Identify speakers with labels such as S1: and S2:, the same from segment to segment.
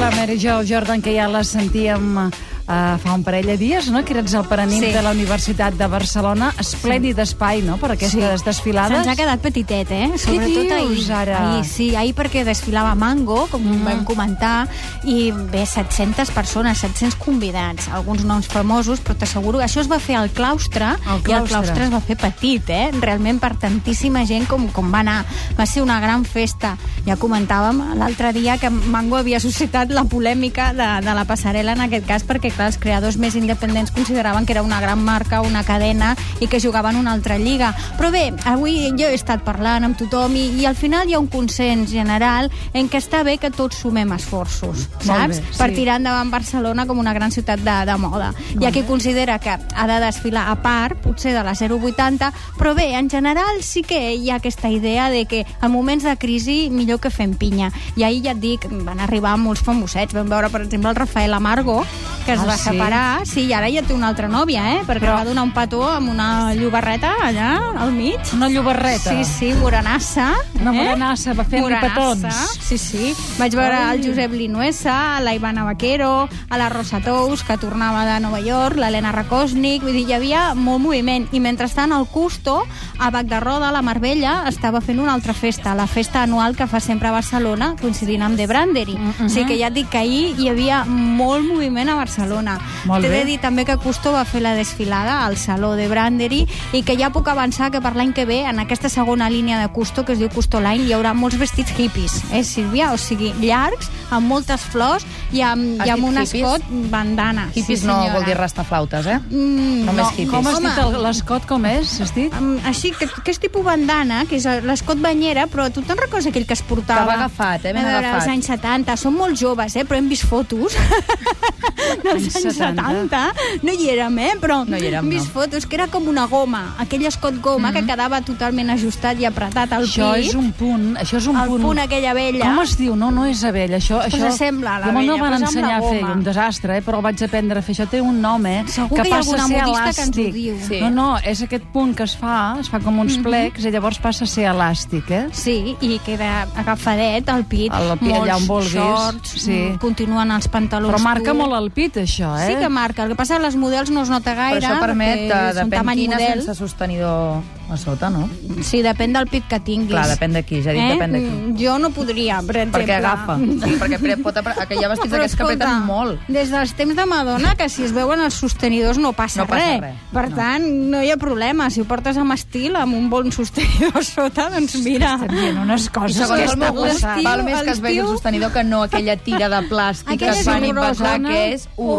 S1: la Mary Jo Jordan, que ja la sentíem eh, fa un parell de dies, no? que eres el paranit
S2: Sí.
S1: de la Universitat de Barcelona. Esplèndid espai, no?, per aquestes desfilades.
S2: Se'ns ha quedat petitet, eh? Sobretot
S1: dius,
S2: ahir.
S1: ara? Mm.
S2: Ahir, sí, ahir perquè desfilava Mango, com vam comentar, i bé, 700 persones, 700 convidats, alguns noms famosos, però t'asseguro que això es va fer al claustre,
S1: Al
S2: i el
S1: claustre.
S2: claustre es va fer petit, eh? Realment per tantíssima gent com, com va anar. Va ser una gran festa. Ja comentàvem l'altre dia que Mango havia suscitat la polèmica de, de la passarel·la en aquest cas perquè, clar, els creadors més independents consideraven que era una gran marca, una cadena i que jugaven una altra lliga. Però bé, avui jo he estat parlant amb tothom i, i al final hi ha un consens general en què està bé que tots sumem esforços,
S1: Molt
S2: saps?
S1: bé, sí.
S2: Per tirar endavant Barcelona com una gran ciutat de, de moda. Hi ha qui considera que ha de desfilar a part, potser de la 080, però bé, en general sí que hi ha aquesta idea de que en moments de crisi millor que fem pinya. I ahir ja et dic, van arribar molts famosets. Vam veure, per exemple, el Rafael Amargo, que es
S1: Ah,
S2: va
S1: sí?
S2: separar. Sí, i ara ja té una altra nòvia, eh? Perquè
S1: Però-
S2: va donar un petó amb una llobarreta allà, al mig.
S1: Una llobarreta.
S2: Sí, sí, morenassa. eh?
S1: Una morenassa, va fer-li petons.
S2: Sí, sí. Vaig veure
S1: Ai.
S2: el Josep Linuesa, a la Ivana Vaquero, a la Rosa Tous, que tornava de Nova York, l'Helena Rakosnik, vull dir, hi havia molt moviment. I mentrestant el Custo, a Bac de Roda, a la Marbella, estava fent una altra festa, la festa anual que fa sempre a Barcelona, coincidint amb The Brandery.
S1: Mm,
S2: O
S1: mm-hmm.
S2: sigui que ja et dic que ahir hi havia molt moviment a Barcelona.
S1: Molt
S2: T'he
S1: bé.
S2: de dir també que Custo va fer la desfilada al Saló de Brandery i que ja puc avançar que per l'any que ve, en aquesta segona línia de Custo, que es diu Custo Line, hi haurà molts vestits hippies, eh, Sílvia? O sigui, llargs, amb moltes flors i amb,
S3: Has
S2: i amb
S3: dit
S2: un
S3: hippies?
S2: escot bandana.
S3: Hippies no
S2: senyora.
S3: vol dir rastaflautes, eh?
S2: Mm,
S3: Només
S2: no,
S3: hippies.
S1: Com has
S2: Home,
S1: dit el- l'escot, com és? Has dit?
S2: Mm, així, que, que és tipus bandana, que és l'escot banyera, però tu te'n recordes aquell que es portava?
S3: Que va agafat, eh? Ben
S2: a veure,
S3: agafat.
S2: als anys 70, són molt joves, eh? Però hem vist fotos dels
S1: Anys
S2: anys 70. No hi érem, eh? Però
S3: No hi érem,
S2: hem vist
S3: no.
S2: fotos, que era com una goma, aquell escot goma que quedava totalment ajustat i apretat al
S1: Això
S2: pit.
S1: Mm. és un punt, això és un
S2: el punt,
S1: punt
S2: aquella vella.
S1: Com es diu? No, no és abella. Això,
S2: Pues
S1: això...
S2: sembla a la
S1: Jo me'l no
S2: abella,
S1: van
S2: pues amb la
S1: ensenyar a fer,
S2: goma.
S1: un desastre, eh? però el vaig aprendre a fer. Això té un nom, eh?
S2: Segur que hi ha
S1: passa
S2: alguna
S1: a ser
S2: modista que ens ho
S1: elàstic.
S2: diu. Mhm.
S3: Sí.
S1: No, no, és aquest punt que es fa, es fa com uns plecs i llavors passa a ser elàstic, eh?
S2: Sí, i queda agafadet al pit.
S1: Al pit,
S2: molts
S1: allà on vulguis,
S2: Shorts,
S1: sí.
S2: mm, continuen els pantalons
S1: Però marca
S2: curts.
S1: molt el pit, això, eh?
S2: Sí que marca, el que passa és que les models no es nota
S3: Però
S2: gaire.
S3: això permet
S2: perquè
S3: eh, de
S2: són tamany
S3: pentina
S2: model.
S3: sense sostenidor a sota, no?
S2: Sí, depèn del pit que tinguis.
S3: Clar, depèn de qui, ja dic, depèn de qui.
S2: Mm, Jo no podria, per exemple.
S3: Perquè agafa. perquè pre- pot... apre- Que hi ha vestits
S2: Però
S3: d'aquests que
S2: escolta,
S3: apreten molt.
S2: Des dels temps de Madonna, que si es veuen els sostenidors no passa,
S3: No passa res,
S2: Per
S3: no.
S2: tant, no hi ha problema. Si ho portes amb estil, amb un bon sostenidor a sota, doncs mira...
S1: Estem dient unes coses
S3: Segons
S1: que
S3: el meu
S1: estan
S3: gust,
S1: passant.
S2: l'estiu-
S3: val més que es vegi el
S2: l'estiu-
S3: sostenidor que no aquella tira de plàstic que
S2: Aquella
S3: es
S2: és
S3: van inventar,
S2: horrorosa, no?
S3: que és horrorós.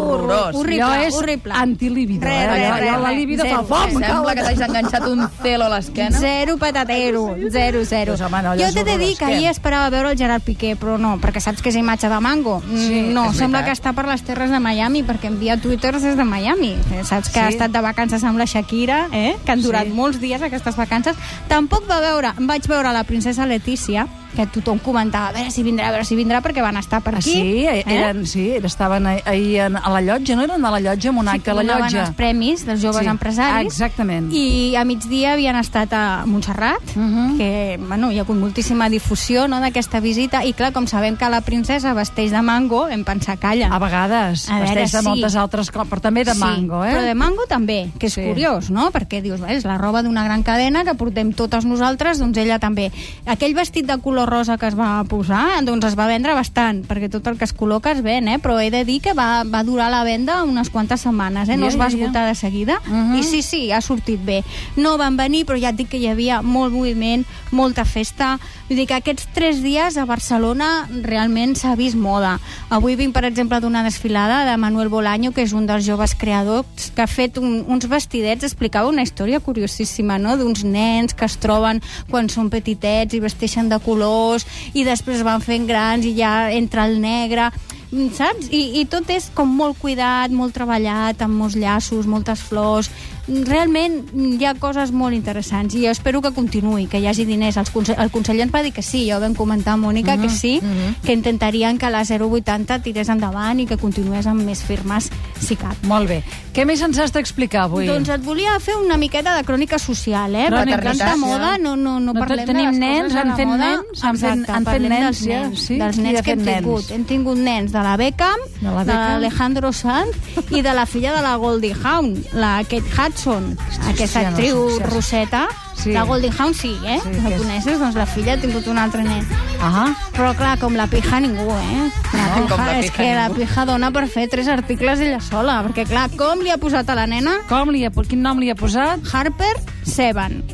S2: Horror- Horrible,
S1: Allò és
S2: horrible.
S1: antilíbido,
S2: Re,
S1: eh?
S2: re,
S1: Allò,
S2: re,
S1: allò la
S2: re.
S1: libido fa
S2: Zero,
S1: pom,
S2: zero.
S1: cau.
S3: Sembla que t'hagis enganxat un celo a l'esquena.
S2: Zero patatero, zero, zero.
S1: Doncs, home, no, allò
S2: jo
S1: és
S2: t'he de dir
S1: horrorós,
S2: que
S1: què?
S2: ahir esperava veure el Gerard Piqué, però no, perquè saps que és imatge de Mango. Mm,
S1: Sí,
S2: no,
S3: és
S2: sembla
S3: veritat.
S2: que està per les terres de Miami, perquè envia twitters des de Miami. Eh, Saps que
S1: Sí.
S2: ha estat de vacances amb la Shakira, eh? que han durat
S1: Sí.
S2: molts dies aquestes vacances. Tampoc va veure, vaig veure la princesa Letícia, que tothom comentava, a veure si vindrà, a veure si vindrà, perquè van estar per
S1: Ah,
S2: aquí. eh?
S1: sí? Eren, sí, estaven ahir- ahir en- a la llotja, no eren a la llotja, en un acte a la
S2: donaven
S1: llotja.
S2: els premis dels joves
S1: Sí, Ah,
S2: empresaris.
S1: exactament.
S2: I a migdia havien estat a Montserrat,
S1: Mhm.
S2: que bueno, hi ha hagut moltíssima difusió no, d'aquesta visita, i clar, com sabem que la princesa vesteix de mango, hem pensat, calla.
S1: A vegades,
S2: A veure,
S1: vesteix de
S2: sí.
S1: moltes altres coses, però també Ah, de mango, eh?
S2: Però de mango també, que és
S1: Sí.
S2: curiós, no? Perquè dius, "Bé, és la roba d'una gran cadena que portem totes nosaltres, doncs ella també. Aquell vestit de color rosa que es va posar, doncs es va vendre bastant, perquè tot el que es col·loca es ven, eh? Però he de dir que va, va durar la venda unes quantes setmanes, eh? No
S1: Ja,
S2: es va
S1: ja, ja.
S2: esgotar de seguida.
S1: Mhm.
S2: I sí, sí, ha sortit bé. No van venir, però ja et dic que hi havia molt moviment, molta festa. Vull dir que aquests tres dies a Barcelona realment s'ha vist moda. Avui vinc, per exemple, d'una desfilada de Manuel Bolaño, que és un dels joves creadors, que ha fet un, uns vestidets, explicava una història curiosíssima, no?, d'uns nens que es troben quan són petitets i vesteixen de colors i després van fent grans i ja entra el negre mm, saps? I, I tot és com molt cuidat, molt treballat, amb molts llaços, moltes flors, realment mm, hi ha coses molt interessants i jo espero que continuï, que hi hagi diners. El, conse el conseller ens va dir que sí, ja ho vam comentar, Mònica, que sí, que intentarien que la 080 tirés endavant i que continués amb més firmes, si cap.
S1: Molt bé. Què més ens has d'explicar avui?
S2: Doncs et volia fer una miqueta de crònica social, eh?
S1: Crònica
S2: Crònica perquè tanta
S3: social.
S2: moda, no, no,
S1: No
S2: no parlem de
S1: tenim
S2: les
S1: nens,
S2: coses de
S1: han
S2: la
S1: fet
S2: moda.
S1: nens, han fet-
S2: Exacte,
S1: han fet
S2: parlem dels
S1: nens, ja,
S2: nens,
S1: sí.
S2: Dels
S1: I
S2: nens
S1: de
S2: que hem
S1: fet nens.
S2: tingut. Hem tingut nens de la Beckham,
S1: De
S2: de
S1: la Beckham.
S2: l'Alejandro Sanz i de la filla de la Goldie Hawn, la Kate Hudson, aquesta
S1: no,
S2: actriu
S1: sí, sí.
S2: rosseta.
S1: Sí.
S2: La Goldie Hawn sí, eh?
S1: Sí,
S2: la
S1: que és-
S2: coneixes? Doncs la filla ha tingut un altre nen.
S1: Ah,
S2: Però clar, com la pija ningú, eh? La
S3: No, com
S2: pija,
S3: la
S2: és
S3: pija
S2: que la
S3: ningú.
S2: pija dona per fer tres articles ella sola, perquè clar, com li ha posat a la nena?
S1: com li ha, quin nom li ha posat?
S2: Harper Seven.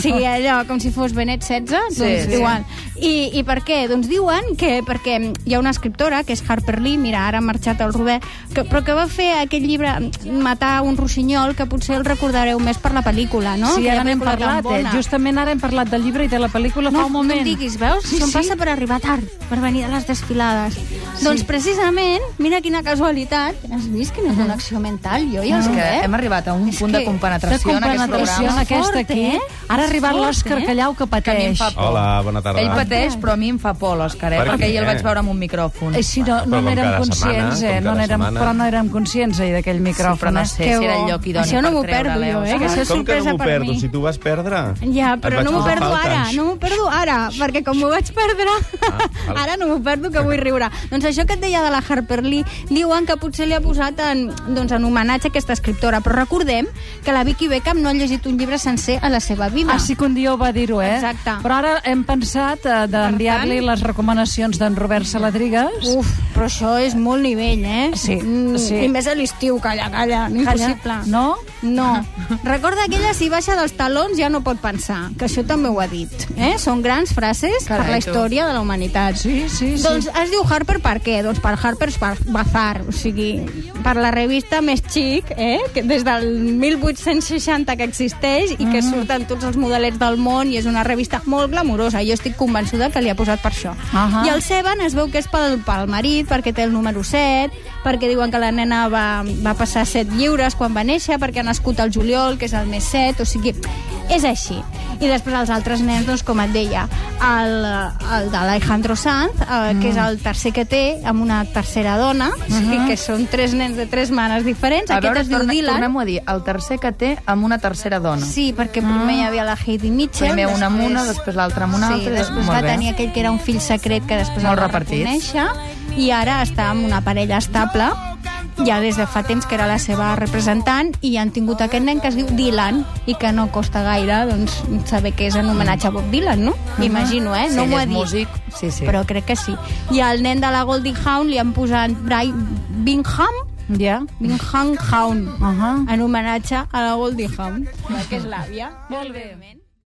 S2: Sí, allò, com si fos Benet XVI, doncs
S3: Sí, sí.
S2: igual. I, I per què? Doncs diuen que perquè hi ha una escriptora, que és Harper Lee, mira, ara ha marxat al Robert, que, però que va fer aquest llibre Matar un rossinyol, que potser el recordareu més per Oh, la pel·lícula, no?
S1: sí,
S2: Aquella
S1: ara n'hem
S2: pel·lícula tan
S1: parlat, eh?
S2: bona.
S1: Justament ara hem parlat del llibre i de la pel·lícula
S2: No,
S1: fa un moment.
S2: no em diguis, veus?
S1: Sí,
S2: Sí, Això em
S1: sí.
S2: passa per arribar tard, per venir de les desfilades. Doncs precisament, mira quina casualitat, has vist quina connexió mental, jo eh? i
S3: És
S2: el
S3: que
S2: Robert?
S3: hem arribat a un
S2: És
S3: punt Eh? de
S2: que-
S3: compenetració en aquest
S1: compenetració en
S3: programa.
S1: aquesta
S2: Fort,
S1: aquí.
S2: eh?
S1: Ara ha arribat
S2: Fort,
S1: l'Òscar
S2: eh?
S1: Callau que
S3: Que a mi em
S1: pateix.
S3: fa por.
S4: Hola, bona tarda.
S3: Ell pateix, però a mi em fa por, l'Òscar, eh?
S4: Per
S3: perquè
S4: què?
S3: ahir el vaig veure amb un micròfon.
S1: Així Eh, no, no
S4: Però com
S1: n'érem
S4: cada
S1: conscients,
S4: setmana,
S1: eh?
S4: com
S1: No
S4: cada
S1: n'érem,
S4: setmana.
S1: però no érem conscients ahir d'aquell micròfon.
S3: però no
S1: eh?
S3: sé
S2: Que
S3: si era
S2: bo.
S3: el lloc idoni
S2: Això no
S3: per
S2: m'ho
S3: treure
S2: perdo jo, eh, que
S3: l'Òscar.
S2: això és
S4: Com que no
S2: sorpresa
S4: m'ho
S2: per
S4: perdo?
S2: mi.
S4: Si tu vas perdre.
S2: Ja,
S4: Et
S2: però
S4: vaig
S2: no m'ho
S4: posar
S2: perdo
S4: falta. Ah,
S2: ara, no m'ho perdo ara, perquè com m'ho vaig perdre,
S4: val.
S2: ara no m'ho perdo, que vull riure. Doncs això que et deia de la Harper Lee, diuen que potser li ha posat en, doncs, en homenatge a aquesta escriptora, però recordem que la Vicky Beckham no ha llegit un llibre sencer a la seva vida.
S1: Ah, sí que un dia ho va dir-ho, eh?
S2: Exacte.
S1: Però ara hem pensat eh, d'enviar-li les recomanacions d'en Robert Saladrigues.
S2: Uf, però això és molt nivell, eh?
S1: Sí, sí.
S2: I més a l'estiu, calla, calla, impossible.
S1: No?
S2: No. Recorda que ella, si baixa dels talons, ja no pot pensar, que això també ho ha dit. Eh? Són grans frases Carai, per
S3: Carai,
S2: la
S3: tu.
S2: història de la humanitat.
S1: Sí, sí, sí.
S2: Doncs es diu Harper per què? Doncs per Harper's Bar- Bazaar, o sigui, per la revista més xic, eh? que des del 1860 que existeix i
S1: Mm.
S2: que surten tots els modelets del món i és una revista molt glamurosa. Jo estic convençuda que li ha posat per això.
S1: Ahà.
S2: I
S3: Ah.
S2: el Seven es veu que és pel, pel marit, perquè té el número 7, perquè diuen que la nena va, va passar 7 lliures quan va néixer, perquè ha nascut al juliol, que és el mes 7, o sigui, és així. I després els altres nens, doncs, com et deia, el, el de l'Alejandro Sanz, eh, que és
S3: Mm.
S2: el tercer que té, amb una tercera dona, o sigui, que són tres nens de tres manes diferents.
S3: Mm-hmm. A
S2: Aquest
S3: veure,
S2: es diu
S3: torna-
S2: Dylan.
S3: tornem-ho a dir. El tercer que té amb una tercera dona.
S2: Sí, perquè primer hi havia la Heidi Mitchell.
S3: Primer una amb una, després l'altra amb una
S2: sí,
S3: altra, i
S2: després
S3: molt
S2: va
S3: bé.
S2: tenir aquell que era un fill secret que després
S3: Molt
S2: el va
S3: repartit.
S2: reconèixer i ara està amb una parella estable ja des de fa temps que era la seva representant i han tingut aquest nen que es diu Dylan i que no costa gaire doncs, saber que és en homenatge a Bob Dylan, no? Imagino, eh?
S3: Mhm. Sí,
S2: no
S3: ell
S2: m'ho ha
S3: és
S2: dit,
S3: músic, sí, sí.
S2: però crec que sí. I al nen de la Goldie Hawn li han posat Brian Bingham,
S1: Ja.
S2: Bingham Hawn,
S1: Ahà.
S2: en homenatge a la Goldie Hawn, que és l'àvia.
S1: Molt bé.
S2: òbviament.